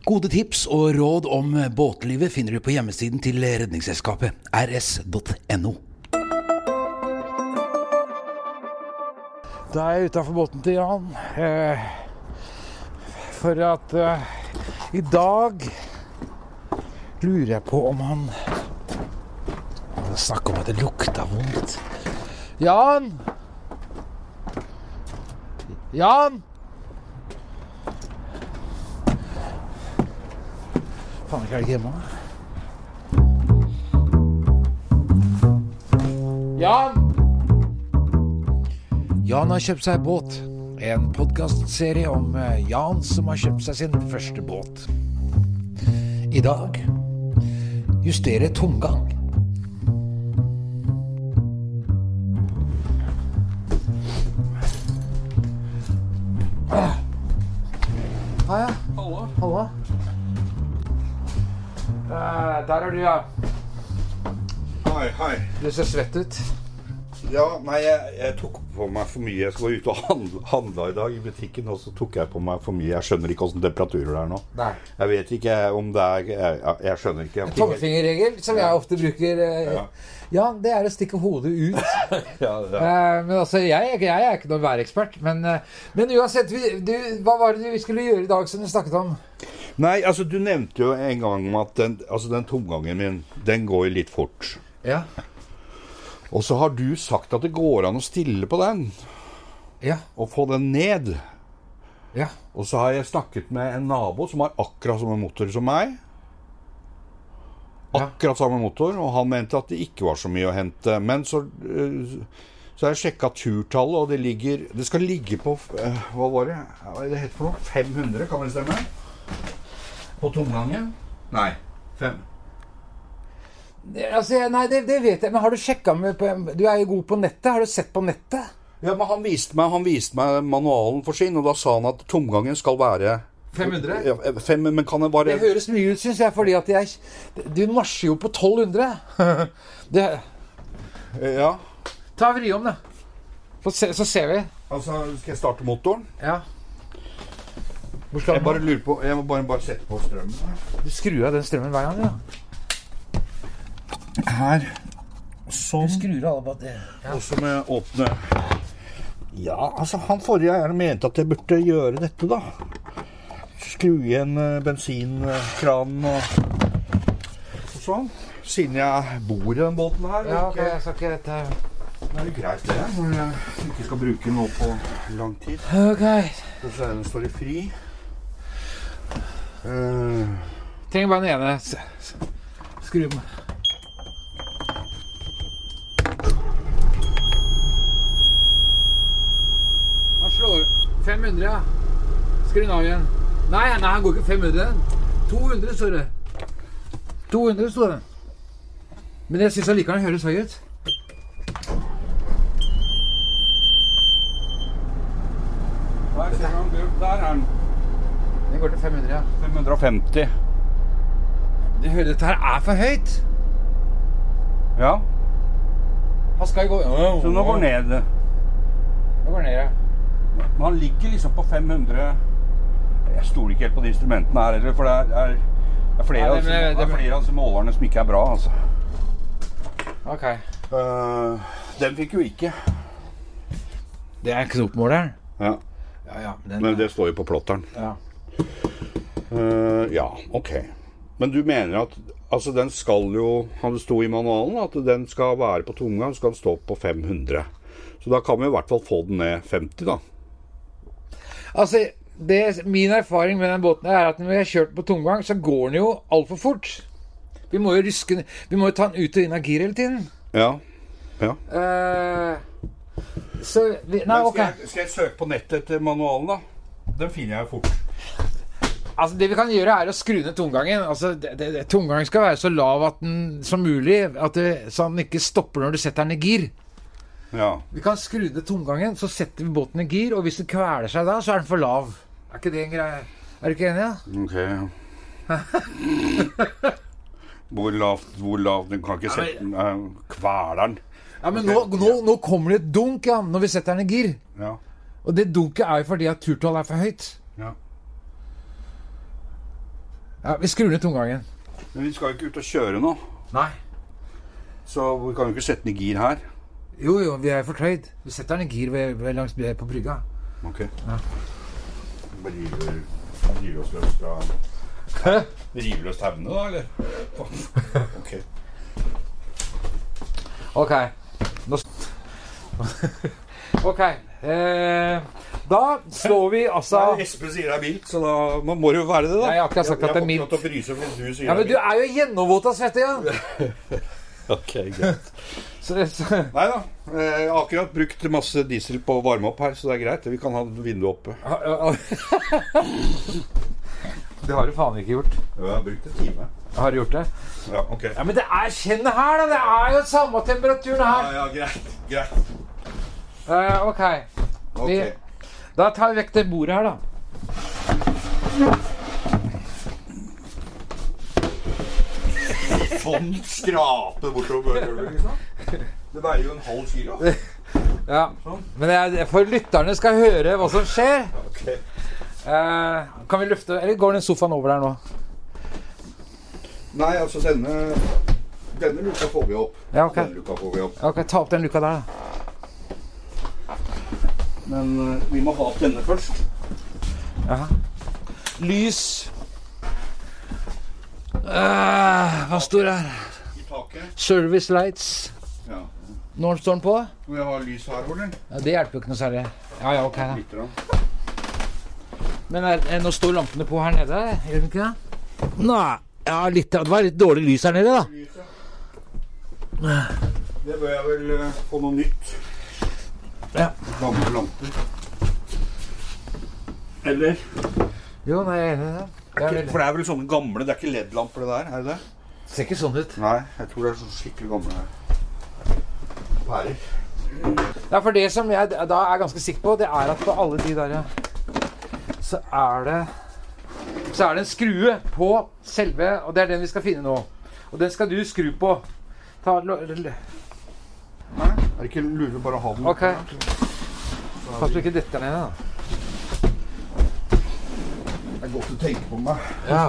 Gode tips og råd om båtlivet finner du på hjemmesiden til Redningsselskapet, rs.no. Da er jeg utafor båten til Jan. Eh, for at eh, i dag lurer jeg på om han Snakk om at det lukta vondt. Jan! Jan! Faen, ikke er det ikke hjemme? da? Jan! Jan har kjøpt seg båt. En podkastserie om eh, Jan som har kjøpt seg sin første båt. I dag justere tomgang. Hei. Hallo. Hallo. Eh, der er du, ja. Hei, hei. Du ser svett ut. Ja, nei, jeg, jeg tok på meg for mye. Jeg skulle ute og handla, handla i dag i butikken, og så tok jeg på meg for mye. Jeg skjønner ikke åssen temperaturer det er nå. Nei. Jeg vet ikke om det er Jeg, jeg- jeg skjønner ikke. Jeg- Tommelfingerregel, som jeg ofte bruker. eh, Ja. Ja, det er å stikke hodet ut. Ja, ja. Eh, men altså, jeg, er ikke- jeg er ikke noen værekspert. Men, eh, men uansett, vi, du, hva var det vi skulle gjøre i dag som du snakket om? Nei, altså, du nevnte jo en gang at den, altså, den tomgangen min, den går jo litt fort. Ja. Og så har du sagt at det går an å stille på den, Ja. og få den ned. ja. Og så har jeg snakket med en nabo som har akkurat samme motor som meg. Ja. Akkurat samme motor, og han mente at det ikke var så mye å hente. Men så, øh, så har jeg sjekka turtallet, og det ligger Det skal ligge på øh, Hva var det? Hva er det het for noe? 500, kan det stemme? På tomgangen? Nei. Fem. Det- Altså, jeg- nei, det, det vet jeg. Men har du sjekka med på, Du er jo god på nettet. Har du sett på nettet? Ja, men han viste, meg, han viste meg manualen for sin, og da sa han at tomgangen skal være 500? Ja, eh, Fem, men kan det Det bare høres mye ut, syns jeg, fordi at jeg Du marsjer jo på 1200. Det, Ja. ta vri om, da. Så, se, så ser vi. Altså, skal jeg starte motoren? Ja. Hvor skal Jeg den? bare lurer på Jeg må bare, bare sette på strømmen her. Du skrur av den strømmen hver gang, du, da. Her. Sånn. Skrur av bare det. Og så må jeg åpne Ja, altså, han forrige eieren mente at jeg burde gjøre dette, da. Skru igjen eh, bensinkranen og og sånn. Siden jeg bor i den båten her. Ja, og ok, ikke- jeg skal ikke dette Det er jo greit, det. Når jeg ikke skal bruke den nå på lang tid. Ok. Og så er den står i fri. Eh, Trenger bare den ene. S- s- Skru den. Han slår 500, ja. Skru den av igjen. Nei, nei, han går ikke 500. 200 står det. 200 står det. Men jeg syns allikevel den høres høy ut. der ser man, du. Der er den. Den går til 500, ja. 550. Du hører, dette her er for høyt. Ja. Han skal jo gå Så nå går den ned. Nå går den ned, ja. Men han ligger liksom på 500 Jeg stoler ikke helt på de instrumentene her heller, for det er, er, det er flere, Nei, av det- disse- det- det er det- flere av disse målerne som ikke er bra, altså. Ok. den Eh, fikk jo ikke. Det er knopmåleren. Ja, Ja, ja. Den, Men det står jo på plotteren. ja. Eh, ja, ok. Men du mener at altså, den skal jo Han sto i manualen at den skal være på tomgang, skal den stå på 500. Så da kan vi i hvert fall få den ned 50, da. Altså, det, min erfaring med den båten er at når vi har kjørt på tomgang, så går den jo altfor fort. Vi må jo ryske den Vi må jo ta den ut og inn av gir hele tiden. Ja. ja. Eh, så vi, Nei, Men ok. skal, jeg, skal jeg søke på nettet etter manualen, da? Den finner jeg jo fort. Altså, det vi kan gjøre, er å skru ned tomgangen. Altså, det, det, det- tomgangen skal være så lav at den, som mulig, at det, så den ikke stopper når du setter den i gir. Ja. Vi kan skru ned tomgangen, så setter vi båten i gir, og hvis den kveler seg da, så er den for lav. Er ikke det en greie? Er du ikke enig? da? Ok. Hvor lavt, hvor lavt Den kan ikke sette den eh, Kveler den. Ja, men nå, nå, nå kommer det et dunk, ja, når vi setter den i gir. Ja. Og det dunket er jo fordi at turtallet er for høyt. ja. Ja, vi skrur ned tomgangen. Men vi skal jo ikke ut og kjøre nå, Nei. så vi kan jo ikke sette den i gir her. Jo, jo, vi er fortøyd. Vi setter den i gir ved, ved langs ved- på brygga. Ok. Ja. Bare river, river oss løs fra Hæ? River løs tauene, da, eller? Ok. Ok. Nå s- ok. Eh, da står vi altså Nei, Espen sier det er mildt, så da må- må det jo være det, da. Nei, jeg har ikke sagt at det er Jeg får ikke lov til å fryse fordi du sier Ja, men du det er er mildt. jo gjennomvåt av svette, Jan. Ok, greit. Så, det- så, Nei da. Jeg har akkurat brukt masse diesel på å varme opp her, så det er greit. Vi kan ha vinduet oppe. det har du faen ikke gjort. Ja, jeg har brukt en time. Har du gjort det? Ja, ok. Ja, Men det er kjenn her, da! Det er jo samme temperaturen Ja, her. ja, greit. Greit. Eh, ok. Ok. Vi- Da tar vi vekk det bordet her, da. Sånn skrape bortover gulvet, liksom. Det veier jo en halv kilo. Ja. Sånn. Men jeg, for lytterne skal høre hva som skjer. Ok. Eh, kan vi løfte Eller går den sofaen over der nå? Nei, altså denne Denne luka får vi opp. Ja, ok. Denne luka får vi opp. Ok, Ta opp den luka der, da. Men eh, vi må ha opp denne først. Lys. Eh, hva står det her? I taket. Service lights. Ja. Når står den på? Skal vi ha lys her, eller? Ja, det hjelper jo ikke noe særlig. Ja, ja, ok da. Litt. grann. Men er, er, nå står lampene på her nede, gjør de ikke det? Nei. Ja, litt, det var litt dårlig lys her nede, da. Lyset. Det bør jeg vel eh, få noe nytt. Ja. Gamle lamper. Eller? Jo, nei, jeg er enig i det. Det er For veldig... det er vel sånne gamle, det er ikke LED-lamper det der, er det det? ser ikke sånn ut. Nei, jeg tror det er sånn skikkelig gamle her. Pærer. Ja, for det som jeg da er ganske sikker på, det er at på alle de der ja, så er det Så er det en skrue på selve Og det er den vi skal finne nå. Og den skal du skru på. Ta lo- l- Nei, er det ikke lure bare å ha den? OK. Pass på ikke detter ned, da. Det er godt å tenke på meg. Ja.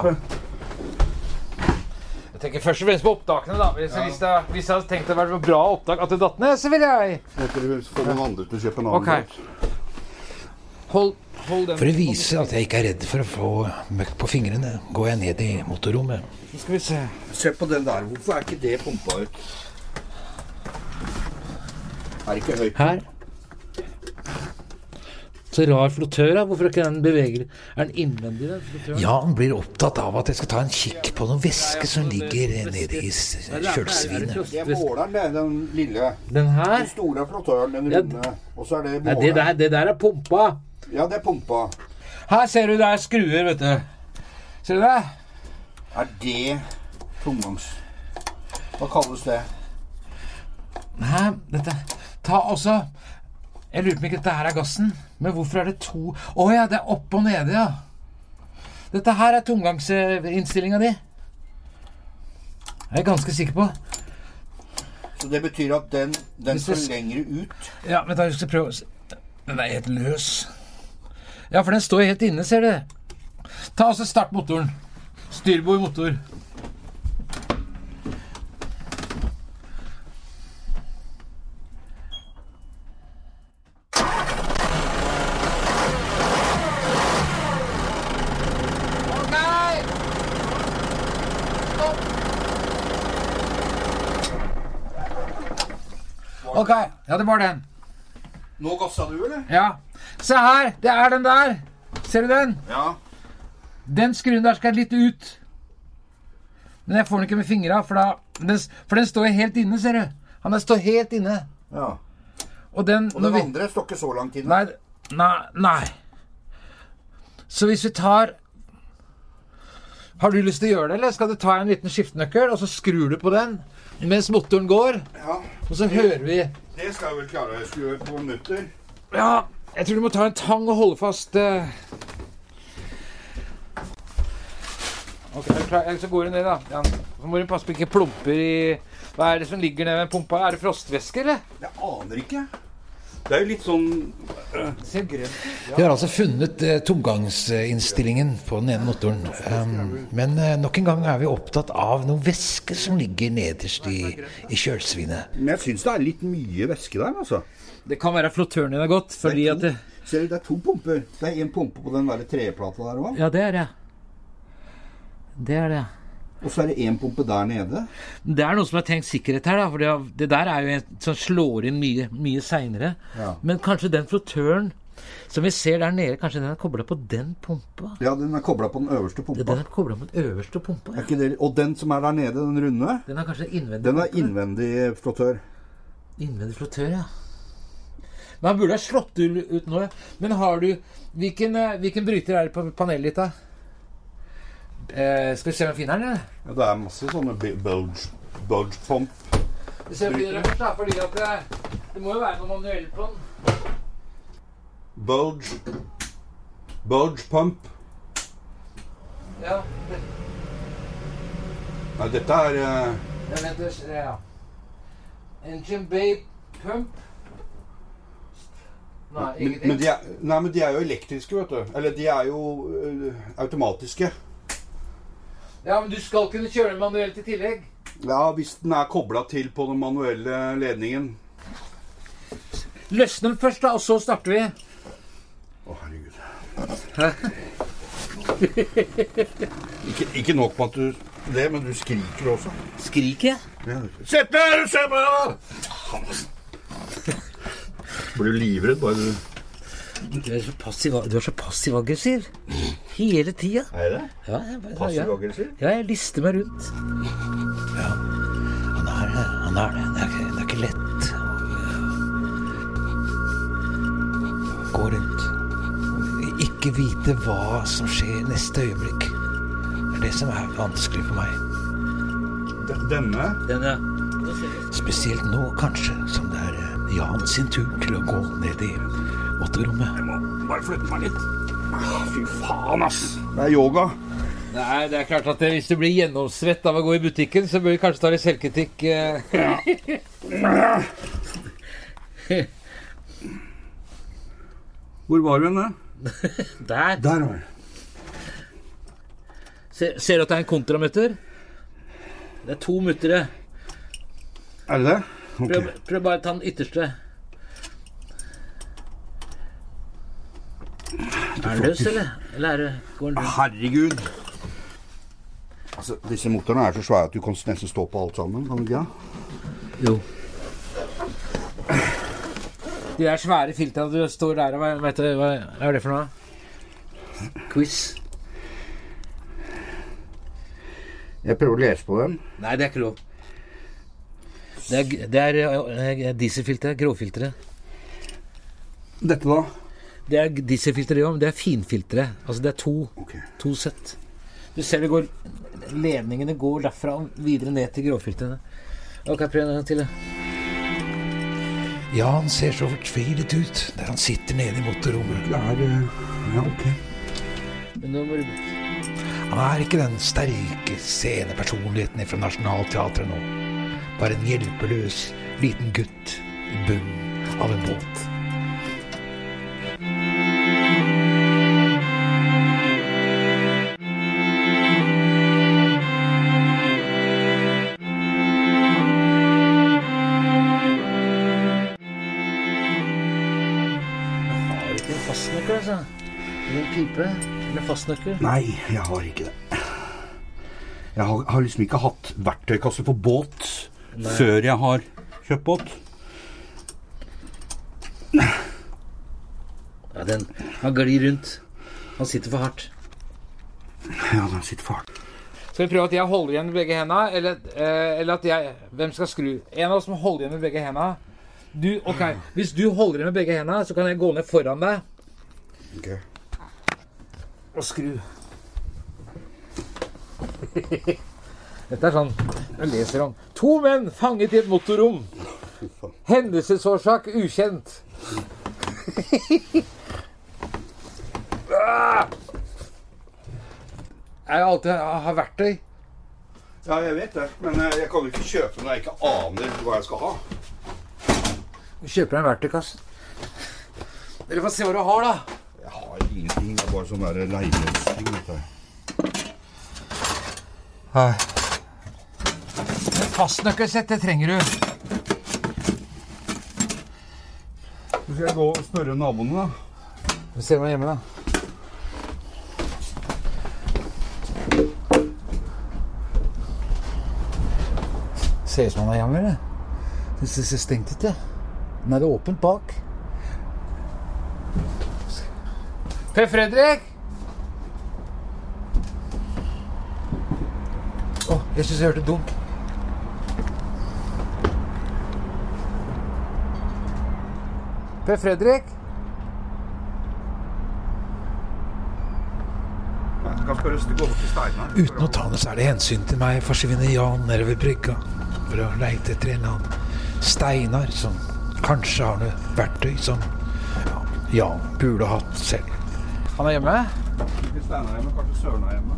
Jeg tenker først og fremst på opptakene, da. Hvis, hvis, det, hvis jeg hadde tenkt det var bra opptak at det datt ned, så ville jeg Dette får noen andre til å kjøpe en annen Ok. Hold, hold den. For å vise at jeg ikke er redd for å få møkk på fingrene, går jeg ned i motorrommet. Nå skal vi se. båt. Se på den der, hvorfor er ikke det pumpa ut? Er det ikke høyt? Her. Så rar flottør, da. Hvorfor ikke den beveger Er den innvendig, den flottøren? Jan blir opptatt av at jeg skal ta en kikk på noen væske som ligger nede i s- kjølsvinet. Det er måleren, det. Den lille. Den her? Den store flottøren, den Ja, runde. Og så er det Nei, det måleren. der, det der er pumpa. Ja, det er pumpa. Her ser du det er skruer, vet du. Ser du det? Er det tomgangs... Hva kalles det? Nei, dette Ta også Jeg lurer på om ikke dette her er gassen. Men hvorfor er det to Å ja, det er oppe og nede, ja. Dette her er tomgangsinnstillinga di. Jeg er ganske sikker på. Så det betyr at den, den Hvis det skal sk- lengre ut. Ja, vent da, jeg skal prøve å se. Den er helt løs. Ja, for den står helt inne, ser du. Ta også start motoren. Styrbord motor. Ok, ja det var den. Nå gassa du, eller? Ja. Se her, det er den der. Ser du den? Ja. Den skruen der skal litt ut. Men jeg får den ikke med fingra, for, da- den, s- for den står helt inne, ser du. Han der står helt inne. ja. Og den, Og når den vi- andre står ikke så langt inne. Nei, nei, nei. Så hvis vi tar Har du lyst til å gjøre det, eller skal du ta en liten skiftenøkkel, og så skrur du på den mens motoren går, Ja. og så hører vi Det skal jeg vel klare. Jeg skulle gjøre på minutter. Ja, jeg tror du må ta en tang og holde fast. eh. Ok, er du klar? Ellers så går du ned, da. Jan. Så må du passe på ikke plumper i Hva er det som ligger ned ved pumpa? Er det frostvæske, eller? Jeg aner ikke. Det er jo litt sånn Ser grønt ut. Vi har altså funnet eh, tomgangsinnstillingen på den ene motoren. Um, men eh, nok en gang er vi opptatt av noe væske som ligger nederst i, i kjølsvinet. Men jeg syns det er litt mye væske der, altså. Det kan være flottøren din har gått. Fordi at det, Ser du, det er to pumper. Det er én pumpe på den der treplata der òg. Ja, det er det. Det er det. Og så er det én pumpe der nede. Det er noe som er tenkt sikkerhet her, da, for det, det der er jo en som slår inn mye, mye seinere. Ja. Men kanskje den flottøren som vi ser der nede, kanskje den er kobla på den pumpa? Ja, den er kobla på den øverste Det, pumpa. den er kobla på den øverste pumpa. Er Ja. ikke det, og den som er der nede, den runde, Den er kanskje innvendig, den er innvendig flottør. innvendig flottør, ja. Men han burde ha slått ul- ut nå. ja. Men har du Hvilken, eh, hvilken bryter er det på panelet ditt, da? Eh, skal vi se om vi finner den, eller? Ja, det er masse sånne bu- bulge, bulge pump. Vi ser om vi finner den først, da, fordi at det, det må jo være noe manuelt på den. Bulge Bulge pump. Ja, det, Nei, dette er eh, Ja, vent, det er- ja. Engine bay pump Nei, men, ingenting. men de er, nei, men de er jo elektriske, vet du. Eller de er jo eh, automatiske. Ja, men du skal kunne kjøre den manuelt i tillegg. Ja, hvis den er kobla til på den manuelle ledningen. Løsne den først, da, og så starter vi. Å, herregud. Hæ? Ikke, ikke nok med at du det, men du skriker også. Skriker jeg? Sett deg her og se på meg! Blir du livredd bare du Du er så passiv- du er så passiv-aggressiv. Hele tida. Er det? Ja, jeg bare- Mm. Passiv ja. aggressiv? Ja, jeg lister meg rundt. Han er det. han er Det Det er ikke, det er ikke lett å eh, gå rundt. Ikke vite hva som skjer neste øyeblikk. Det er det som er vanskelig for meg. D- Denne? Den, ja. Spesielt nå, kanskje, som det er eh, Jan sin tur til å gå ned i motorrommet. Bare flytte meg litt. Fy faen, ass. Det er yoga. Nei, det er klart at det, hvis du blir gjennomsvett av å gå i butikken, så bør du kanskje ta litt selvkritikk. eh. Hvor var du hen, da? Der. Der var du. Se, ser du at det er en kontramutter? Det er to muttere. Er det det? Prøv, Ok. prøv bare å ta den ytterste. Er den løs, eller? Eller er det, går den løs? Herregud. Altså, disse motorene er så svære at du kan nesten stå på alt sammen. kan du ikke? det? Jo. De der svære filtrene du står der og hva- vet du, hva hva er det for noe? Quiz? Jeg prøver å lese på dem. Nei, det er ikke lov. Det er, g- det er eh, eh, dieselfiltre. Gråfiltre. Dette, da? Det er g- dieselfiltre, det òg, men det er finfiltre. Altså, det er to. Ok. To sett. Du ser det går Ledningene går derfra og videre ned til gråfiltene. Ok, prøv en gang til. da. Jan ser så fortvilet ut der han sitter nede i motorrommet. Det er eh, Ja, ok. Men nå må du Han er ikke den sterke scenepersonligheten fra Nationaltheatret nå. Bare en hjelpeløs liten gutt i bunnen av en båt. Har du ikke en fastnøkkel, altså? Eller en pipe? Eller fastnøkkel? Nei, jeg har ikke det. Jeg har, har liksom ikke hatt verktøykasse på båt før jeg har kjøpt båt. Ja, den Han glir rundt. Han sitter for hardt. Ja, den sitter fart. Skal vi prøve at jeg holder igjen med begge henda, eller, eh, eller at jeg Hvem skal skru? En av oss må holde igjen med begge henda. Du, ok, Hvis du holder igjen med begge henda, så kan jeg gå ned foran deg Okay. og skru. Dette er sånn Jeg leser om To menn fanget i et motorrom. Hendelsesårsak ukjent. Ah! Jeg har alltid har verktøy. Ja, jeg vet det, men eh, jeg kan jo ikke kjøpe når jeg ikke aner hva jeg skal ha. Kjøper deg en verktøykasse. Dere får se hva du har, da. Jeg har ingenting. Det er bare sånn derre leilighetsting. vet du. Fastnøkkelsett, det trenger du. Så skal jeg gå og spørre naboene, da. Vi ser om han er hjemme, da. Ser ut som han er hjemme, eller? Det ser- ser stengt ut, ja. Men er det åpent bak? Per Fredrik! Å, jeg syns jeg hørte dunk. Per Fredrik? Jeg kan spørre hvis det går opp til Steinar. Uten å ta noe særlig hensyn til meg forsvinner Jan nedover brygga for å leite etter en eller annen Steinar som kanskje har noe verktøy som ja, Jan burde hatt selv. Han er hjemme? Ikke Steinar hjemme, kanskje Søren er hjemme.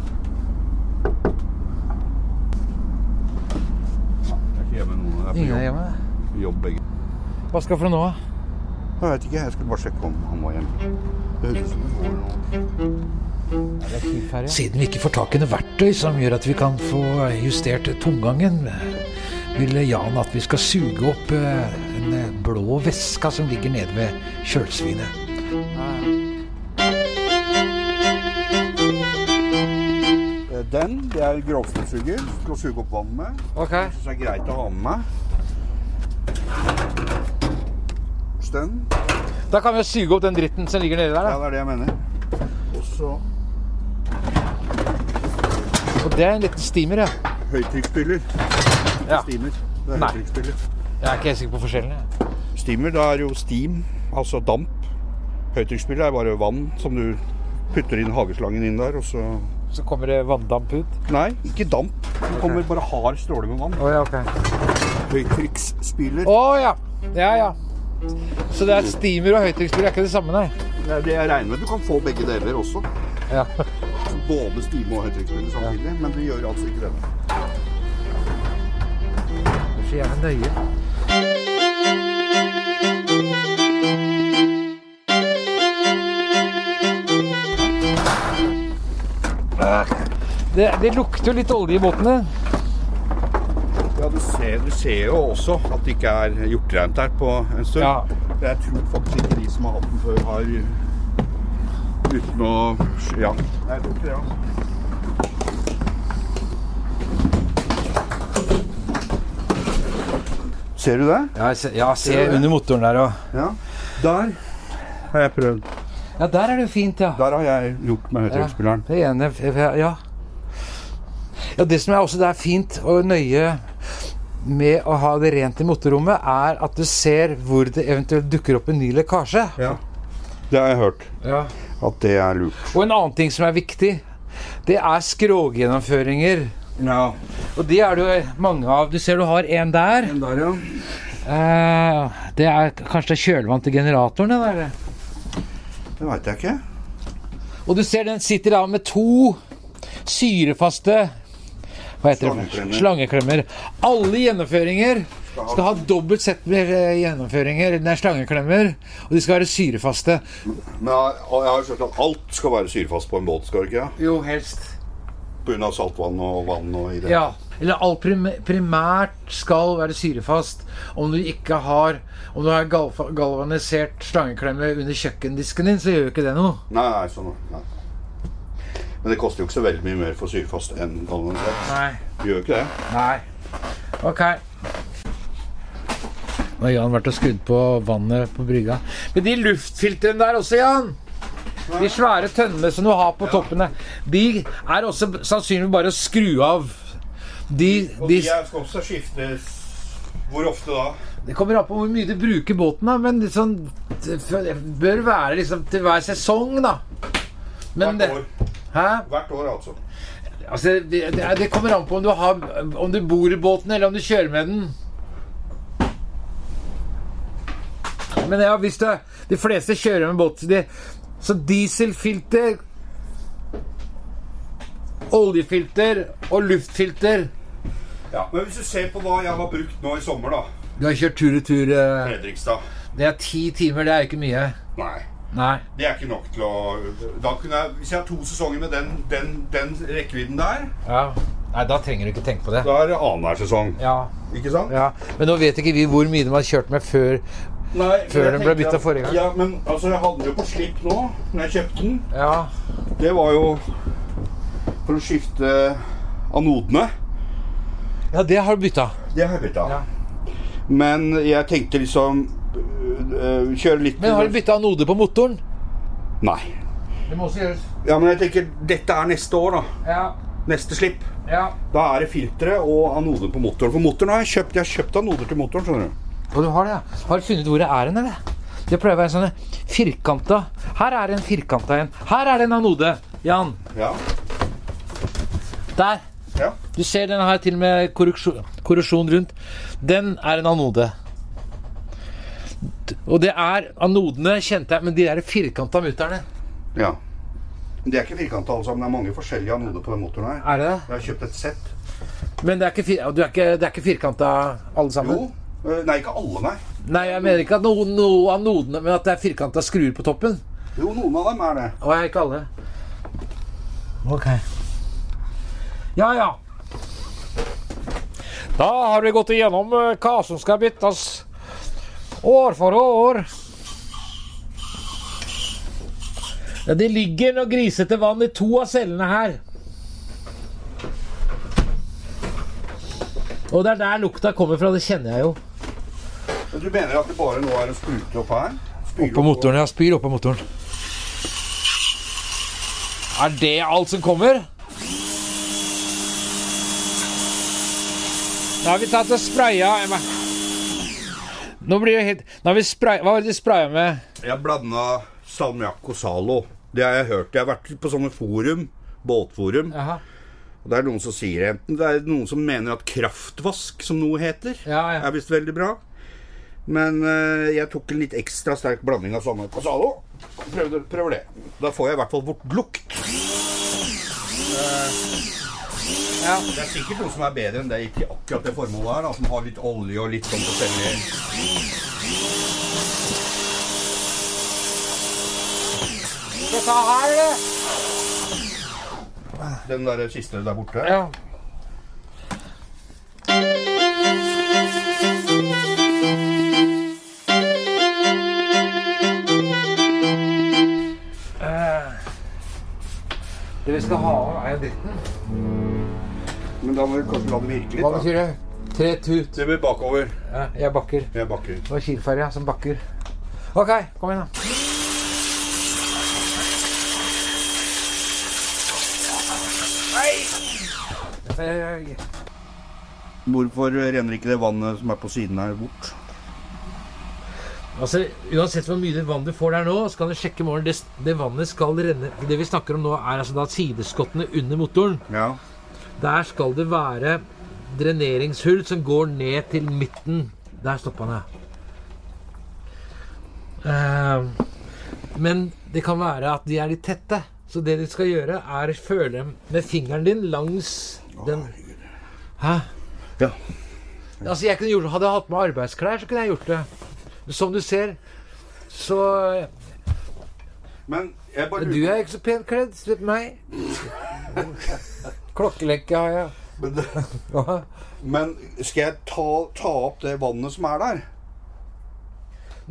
Ja, jeg er ikke hjemme noen. Jeg er på Ingen er jobb, hjemme. jobb begge. Hva skal for noe nå? Jeg vet ikke, jeg skulle bare sjekke om han var hjemme. Det høres ut som det går noe. Siden vi ikke får tak i noe verktøy som gjør at vi kan få justert tomgangen, eh, vil Jan at vi skal suge opp eh, den eh, blå veska som ligger nede ved kjølsvinet. Eh, Den, det er grovstøvsuger. Skal suge opp vann med. Ok. Jeg synes det er greit å ha med meg. Stønn. Da kan vi jo syge opp den dritten som ligger nedi der. Ja, det er det jeg mener. Og så Da. Og det er en liten steamer, ja. høytrykksspyler. Ja. Steamer. Det er Nei. høytrykksspyler. Jeg er ikke helt sikker på forskjellen. jeg. Steamer, da er jo steam, altså damp. Høytrykksspyler er bare vann som du putter inn hageslangen inn der, og så Så kommer det vanndamp ut. Nei, ikke damp. Det kommer bare hard stråle med vann. Å ja, ok. Høytrykksspyler. Å ja. Ja ja. Så det er steamer og høytrykksspyler, er ikke det samme, nei? Det er det jeg regner med. Du kan få begge deler også. Ja. Både steam og høytrykksspyler samtidig, men du gjør altså ikke det. Så gjerne nøye. Det, det lukter jo litt olje i båten din. Ja, du ser, du ser jo også at det ikke er gjort rent her på en stund. Ja. Jeg tror faktisk ikke de som har hatt den før, har Uten å Ja. Nei, jeg tror ikke det, altså. Ser du det? Ja, se, ja, se under motoren der og Ja. Der har jeg prøvd. Ja, der er det jo fint, ja. Der har jeg gjort med høytrykksspilleren. Det ene Ja. Ja, det som er også det er fint og nøye med å ha det rent i motorrommet, er at du ser hvor det eventuelt dukker opp en ny lekkasje. Ja. Det har jeg hørt. Ja. At det er lurt. Og en annen ting som er viktig, det er skroggjennomføringer. Ja. Og de er det jo mange av. Du ser du har en der. Den der, ja. Eh, det er kanskje det er kjølvann til generatoren, det der. Det veit jeg ikke. Og du ser den sitter da med to syrefaste hva heter Slangeklemmer. det? Slangeklemmer. Alle gjennomføringer skal ha dobbelt sett med eh, gjennomføringer. Det er slangeklemmer, og de skal være syrefaste. Men jeg, jeg har jo skjønt at alt skal være syrefast på en båt, skal det ikke? ja? Jo, helst. På grunn av saltvann og vann og i det. Ja. Eller alt prim primært skal være syrefast om du ikke har Om du har galfa- galvanisert slangeklemme under kjøkkendisken din, så gjør jo ikke det noe. Nei, nei, sånn, nei. Men det koster jo ikke så veldig mye mer for syrefast enn galvanisert. Nei. Det gjør jo ikke det. Nei. Ok. Nå har Jan vært og skrudd på vannet på brygga. Men de luftfiltrene der også, Jan! De svære tønnene som du har på toppene, de er også b- sannsynligvis bare å skru av. De, de, skal også skiftes Hvor ofte da? det kommer an på hvor mye du bruker båten, da, men litt sånn, det f- det bør være liksom til hver sesong, da. Men det, hæ? Hvert år, altså. Altså, det, det, er- det kommer an på om du, har, om du bor i båten, eller om du kjører med den. Men ja, hvis du De fleste kjører med båt. så De, så dieselfilter Oljefilter og luftfilter. Ja, Men hvis du ser på hva jeg har brukt nå i sommer, da. Du har kjørt tur-retur. eh, Fredrikstad. Det er ti timer, det er ikke mye. Nei. Nei. Det er ikke nok til å da kunne jeg, Hvis jeg har to sesonger med den, den, den rekkevidden der, Ja. Nei, da trenger du ikke tenke på det. da er det annenhver sesong. Ja. Ikke sant? ja. Men nå vet ikke vi hvor mye de har kjørt med før. Nei, Før jeg den ble tenkte byttet at- forrige gang. Ja, men altså, jeg hadde den jo på slipp nå, når jeg kjøpte den. Ja. Det var jo for å skifte anodene. Ja, det har du bytta. Det har jeg bytta. Ja. Men jeg tenkte liksom øh, øh, Kjøre litt Men har du bytta anode på motoren? Nei. Det må også gjøres. Ja, men jeg tenker dette er neste år, da. Ja. Neste slipp. Ja. Da er det filteret og anode på motoren. For motoren har jeg kjøpt. Jeg har kjøpt anoder til motoren, skjønner du. Og du har det, ja. Har du funnet hvor det er hen, eller? Det pleier å være sånne firkanta. Her er det en firkanta en. Her er det en anode. Jan. Ja. Der. ja. Du ser den her til og med korruksjon, korrosjon rundt. Den er en anode. D- Og det er Anodene kjente jeg, men de der firkanta mutterne. ja. Det er ikke firkanta alle sammen. Det er mange forskjellige anoder på den motoren her. Er det det? Jeg har kjøpt et sett. Men det er ikke, fir du er ikke, det er ikke firkanta alle sammen? Jo. øh, Nei, ikke alle, nei. Nei, jeg mener ikke at noen noe av nodene, men at det er firkanta skruer på toppen. Jo, noen av dem er det. Og jeg er ikke alle. Ok. Ja, ja. Da har vi gått igjennom eh, hva som skal byttes år for år. Ja, det ligger noe grisete vann i to av cellene her. Og det er der lukta kommer fra, det kjenner jeg jo. Men Du mener at det bare nå er en sprute opp her? Spyler Oppå motoren, ja. Spyr oppå motoren. Er det alt som kommer? Nå har vi tatt og spraya Emma. Nå blir det helt Nå har vi spray, Hva var det de spraya med? Jeg blanda salmiakk og Zalo. Det har jeg hørt. Jeg har vært på sånne forum. Båtforum. Jaha. Og det er noen som sier enten Det er noen som mener at kraftvask, som noe heter, Ja, ja. er visst veldig bra. Men eh, jeg tok en litt ekstra sterk blanding av salmiakk og Zalo. Prøvde, prøver det. Da får jeg i hvert fall bort lukt. Eh, Ja. Det er sikkert noe som er bedre enn det til akkurat det formålet her, da, som har litt olje og litt sånn forskjellig Dette her, eller? Den der siste der borte. Ja. Eh, Det vi skal ha av, er jo dritten. Men da må vi kanskje la det virke Hva litt. da. betyr det? Tre tut. Det blir bakover. Ja, jeg bakker. Jeg bakker. Det var Kielferja som bakker. OK, kom igjen, da. Nei! Eh, Hvorfor renner ikke det vannet som er på siden her, bort? Altså, Uansett hvor mye vann du får der nå, så kan du sjekke i morgen. Det, det vannet skal renne Det vi snakker om nå, er altså da sideskottene under motoren. Ja. Der skal det være dreneringshull som går ned til midten. Der stoppa han, ja. Ehm, Men det kan være at de er litt tette. Så det du skal gjøre, er å føle med fingeren din langs den Hæ? Ja. Altså, jeg kunne gjort, Hadde jeg hatt med arbeidsklær, så kunne jeg gjort det. Som du ser, så Men jeg bare Men du er ikke så pent kledd. Slipp meg. Klokkelenke har jeg. men, eh, men skal jeg ta, ta opp det vannet som er der?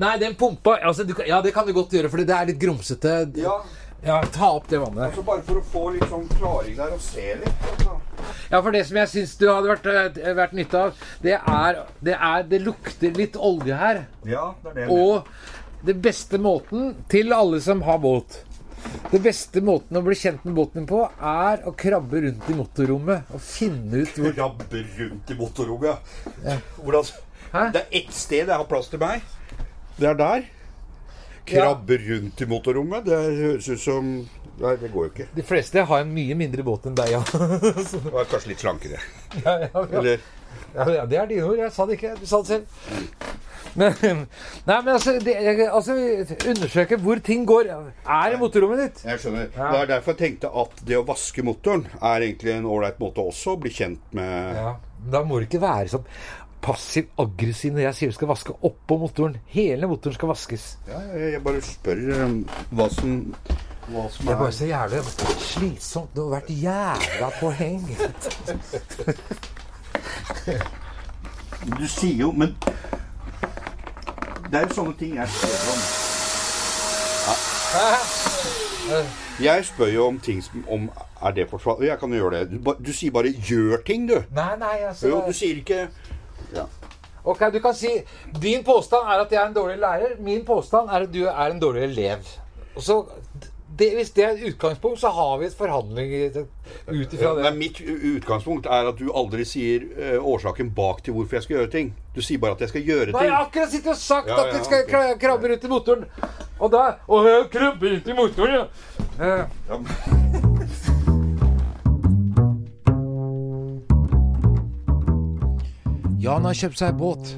Nei, den pumpa altså, du, kan- Ja, det kan du godt gjøre, for det er litt grumsete. Ja. Ja, ta opp det vannet. Altså bare for å få litt sånn klaring der og se litt. altså. Ja, for det som jeg syns du hadde vært, eh, vært nytte av, det er, det er Det lukter litt olje her. Ja, det er det. jeg Og det beste måten til alle som har båt Det beste måten å bli kjent med båten din på, er å krabbe rundt i motorrommet og finne ut hvor mener. Rabber rundt i motorrommet. Ja. Hvordan Hæ? Det er ett sted jeg har plass til meg. Det er der. Krabbe rundt i motorrommet. Det høres ut som Nei, det går jo ikke. De fleste har en mye mindre båt enn deg, ja. Så- Det var kanskje litt slankere. ja, ja, ja. Eller Ja, ja, det er dine ord. Jeg sa det ikke. Du sa det selv. Men, nei, men altså, det, jeg- altså Undersøke hvor ting går. Er i motorrommet ditt? Jeg skjønner. Ja. Det er derfor jeg tenkte at det å vaske motoren er egentlig en ålreit måte også å bli kjent med Ja. Da må det ikke være sånn passiv-aggressiv når jeg sier du skal vaske oppå motoren. Hele motoren skal vaskes. Ja, jeg, jeg bare spør um, hva som hva som Det er er bare så jævlig slitsomt. Det har vært jævla poeng. Du sier jo, men Det er jo sånne ting jeg spør om. Jeg spør jo om ting som om Er det forsvarlig? Jeg kan jo gjøre det. Du, ba- du sier bare 'gjør ting', du. Nei, nei, altså Jo, du sier ikke Ok, du kan si Din påstand er at jeg er en dårlig lærer. Min påstand er at du er en dårlig elev. Og så, det, Hvis det er et utgangspunkt, så har vi et forhandling i- ut ifra Nei, det. Mitt u- utgangspunkt er at du aldri sier eh, årsaken bak til hvorfor jeg skal gjøre ting. Du sier bare at jeg skal gjøre Nå har jeg ting. akkurat sittet og sagt Ja, at ja, det skal ok. kra- krabbe rundt i motoren. Og da Og jeg krabber rundt i motoren, ja. Eh, Ja, men- Jan har kjøpt seg båt.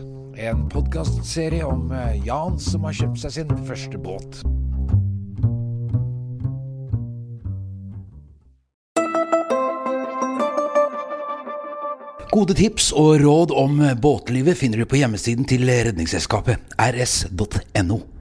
En podkastserie om eh, Jan som har kjøpt seg sin første båt. Gode tips og råd om båtlivet finner du på hjemmesiden til Redningsselskapet, rs.no.